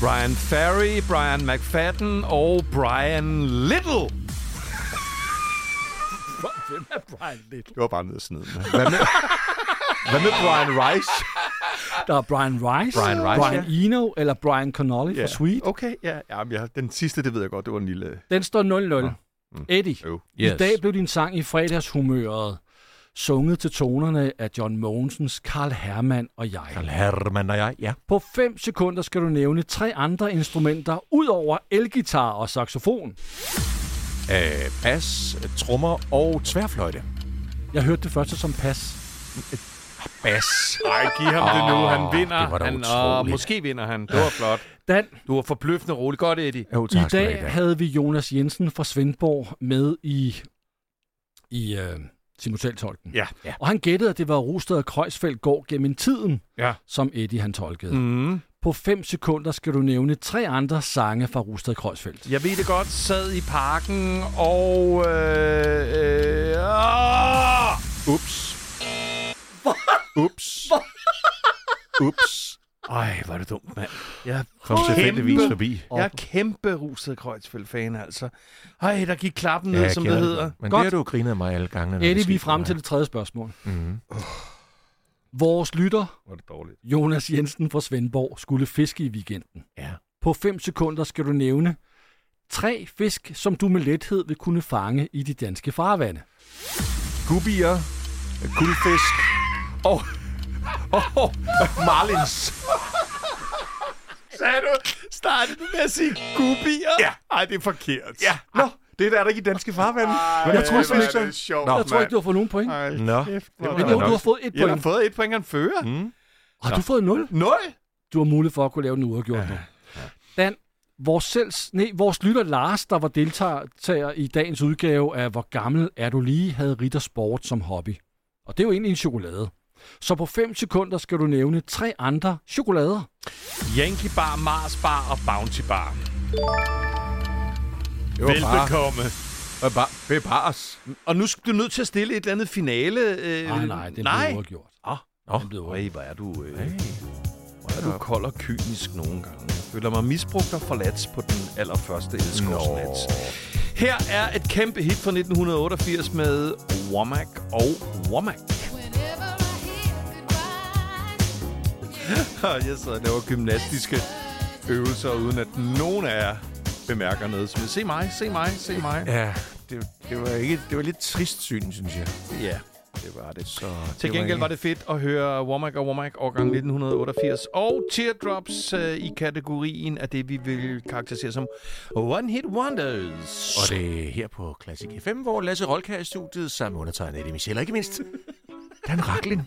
Brian Ferry, Brian McFadden og Brian Little.
Hvem er Brian lidt?
Det var bare ned og snide mig. Hvad med, [laughs] hvad med Brian Rice?
Der er Brian Rice,
Brian Rice,
Brian Eno eller Brian Connolly yeah.
Ja.
fra Sweet.
Okay, ja. Jamen, jeg, den sidste, det ved jeg godt, det var en lille...
Den står 0-0. Eddie,
Øv.
yes. i dag blev din sang i fredagshumøret sunget til tonerne af John Mogensens Karl Hermann og jeg.
Karl Hermann og jeg, ja.
På 5 sekunder skal du nævne tre andre instrumenter ud over elgitar og saxofon.
Øh, bas, trommer og tværfløjte.
Jeg hørte det første som pas.
Bas.
Ej, giv ham oh, det nu. Han vinder.
det var da
han,
utroligt.
måske vinder han. Det var flot.
Dan,
Du var forbløffende rolig. Godt, Eddie.
Jo,
I
tak skal du have,
dag havde vi Jonas Jensen fra Svendborg med i, i øh, simultantolken.
Ja. ja.
Og han gættede, at det var Rosted og Kreuzfeldt går gennem tiden,
Ja.
som Eddie han tolkede. Mm.
Mm.
På 5 sekunder skal du nævne tre andre sange fra Rosted og Kreuzfeldt.
Jeg ved det godt. Sad i parken og... Øh, øh, åh!
Ups. Ups. [laughs] Ups.
Ej, var det dumt, mand. Jeg
Kom tilfældigvis forbi.
Jeg er kæmpe Rusted Kreuzfeldt-fan, altså. Ej, der gik klappen ned,
jeg
ja, som
kender
det hedder.
Men
Godt.
det har du jo grinet af mig alle gange.
Eddie, vi er frem til det tredje spørgsmål. Mm. Vores lytter,
Var det dårligt.
Jonas Jensen fra Svendborg, skulle fiske i weekenden.
Ja.
På 5 sekunder skal du nævne tre fisk, som du med lethed vil kunne fange i de danske farvande.
Gubier, guldfisk og... Oh, Marlins.
Sagde du, startede du med at sige gubier? Ja. Ej, det er forkert. Ja.
Nå, det er der ikke i danske farvande.
Jeg tror slet ikke,
det sjovt,
jeg tror ikke, du har fået nogen point.
Ej,
Nå.
kæft, hvor
Men
er
jo,
det
du har
nok.
fået et
Jeg har
point.
fået et point og en fører. Mm.
Har du fået 0?
Nul?
Du har mulighed for at kunne lave den uafgjort nu. Dan, vores, selv, nej, vores lytter Lars, der var deltager i dagens udgave af Hvor gammel er du lige, havde Ritter Sport som hobby. Og det er jo egentlig en chokolade. Så på 5 sekunder skal du nævne tre andre chokolader.
Yankee Bar, Mars Bar og Bounty Bar.
Det var bare,
Velbekomme.
var bare bevares.
Og nu skal du nødt til at stille et eller andet finale. Øh,
Ah,
Ah, Nej, nej, den
nej.
blev uafgjort.
Nå,
Den blev uafgjort.
Ej, hvor er du... Øh, hvor er du kold og kynisk nogle gange. Jeg føler mig misbrugt og forladt på den allerførste elskovsnat. Her er et kæmpe hit fra 1988 med Womack og Womack.
Whenever I hear
[laughs]
goodbye,
Jeg sidder og laver gymnastiske øvelser, uden at nogen af jer bemærker noget. Så se mig, se mig, se mig.
Ja, det, det, var ikke, det var lidt trist syn, synes jeg.
Ja.
Det var det. Så
Til gengæld var det fedt at høre Womack og Womack årgang 1988 og Teardrops øh, i kategorien af det, vi vil karakterisere som One Hit Wonders.
Og det er her på Classic FM, hvor Lasse Rolka er i studiet sammen med undertegnet Eddie Michel, og ikke mindst Dan Raklin.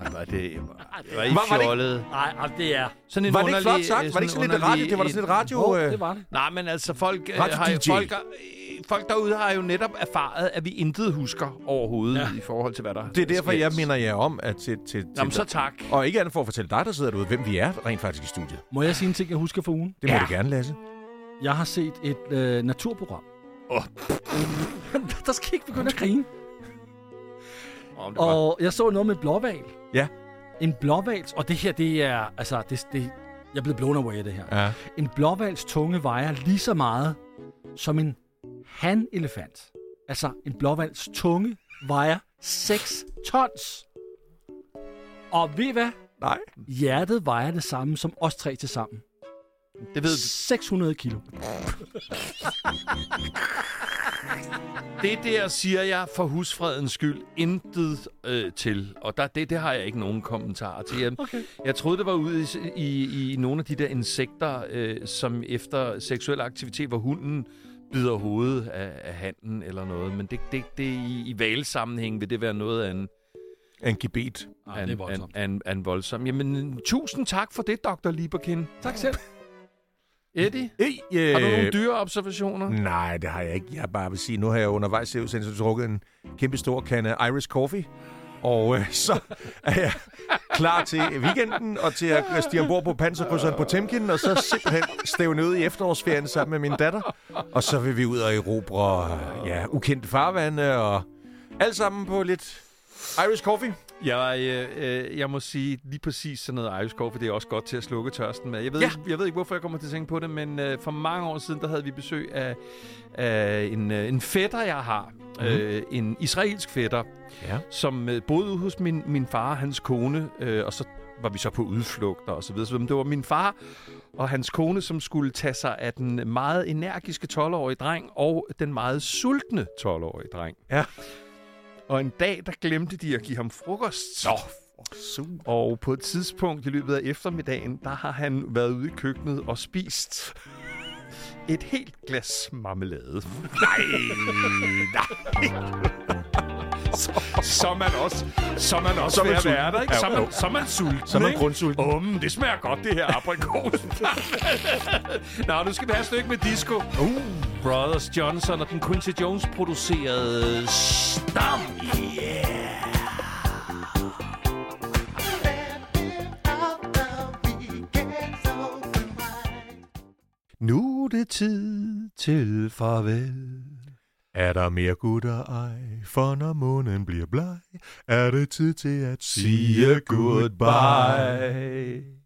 Ej, var det, var, det var
Var- var
ikke
det ikke-
fjollet.
Nej, ej, det er...
Sådan en
Var det ikke
underlig-
flot sagt? Var det ikke sådan lidt radio? Det var da sådan lidt radio...
Jo,
øh,
det var det.
Nej, men altså, folk, øh,
Radio
har, jo-
DJ.
folk, øh, folk derude har jo netop erfaret, at vi intet husker overhovedet ja. i forhold til, hvad der
Det er derfor,
sker.
jeg minder jer om, at til... til,
Jamen,
til
så tak.
og ikke andet for at fortælle dig, der sidder derude, hvem vi er rent faktisk i studiet.
Må jeg sige en ting, jeg husker for ugen?
Det må ja. du gerne, Lasse.
Jeg har set et øh, naturprogram. Oh. [laughs] der skal I ikke begynde at grine.
Om det var-
Og jeg så noget med blåval.
Ja.
En blåvals, og det her, det er, altså, det, det, jeg er blevet blown away af det her.
Ja.
En blåvals tunge vejer lige så meget som en hanelefant. Altså, en blåvals tunge vejer 6 tons. Og ved I hvad?
Nej.
Hjertet vejer det samme som os tre til sammen.
Det ved
600 kilo.
Det der siger jeg for husfredens skyld intet øh, til, og der, det, det har jeg ikke nogen kommentarer til. Jeg, okay. jeg troede, det var ude i, i, i nogle af de der insekter, øh, som efter seksuel aktivitet, hvor hunden bider hovedet af, af handen eller noget, men det, det, det i, i valsammenhæng vil det være noget af en,
Angibet.
Ej, det er
af en, af
voldsomt.
en, af en, af en voldsom. Jamen, tusind tak for det, Dr. Lieberkin.
Tak selv.
Eddie,
Hey, øh,
har du nogle dyreobservationer?
Nej, det har jeg ikke. Jeg bare vil sige, nu har jeg undervejs i udsendelsen drukket en kæmpe stor kande Irish Coffee. Og øh, [laughs] så er jeg klar til weekenden og til at stige ombord på panserkrydseren på Temkin, og så simpelthen stævne ud i efterårsferien sammen med min datter. Og så vil vi ud og erobre øh, ja, ukendte farvande og alt sammen på lidt Irish Coffee.
Jeg, øh, øh, jeg må sige lige præcis sådan noget Irish Coffee, det er også godt til at slukke tørsten med. Jeg ved,
Ja.
ikke, jeg ved ikke, hvorfor jeg kommer til at tænke på det, men øh, for mange år siden, der havde vi besøg af, af en, øh, en fætter, jeg har. Mm. Øh, en israelsk fætter,
Ja.
som øh, boede ude hos min, min far og hans kone, øh, og så var vi så på udflugter og så videre. Så videre. Men det var min far og hans kone, som skulle tage sig af den meget energiske 12-årige dreng og den meget sultne 12-årige dreng.
Ja.
Og en dag, der glemte de at give ham frokost. Nå, og på et tidspunkt i løbet af eftermiddagen, der har han været ude i køkkenet og spist et helt glas marmelade. Nej, nej. Så, så er man også, så er man også
Så er man
ved at
sulten.
være der, ikke? Så er
Ja, jo.
man, så er man sulten,
Så er man
ikke?
grundsulten.
Åh, men det smager godt, det her aprikos. Nå, nu skal vi have et stykke med disco. Uh. Brothers Johnson og den Quincy Jones producerede Stam. Yeah. Nu er det tid til farvel.
Er der mere gutter ej, for når månen bliver bleg, er det tid til at sige goodbye.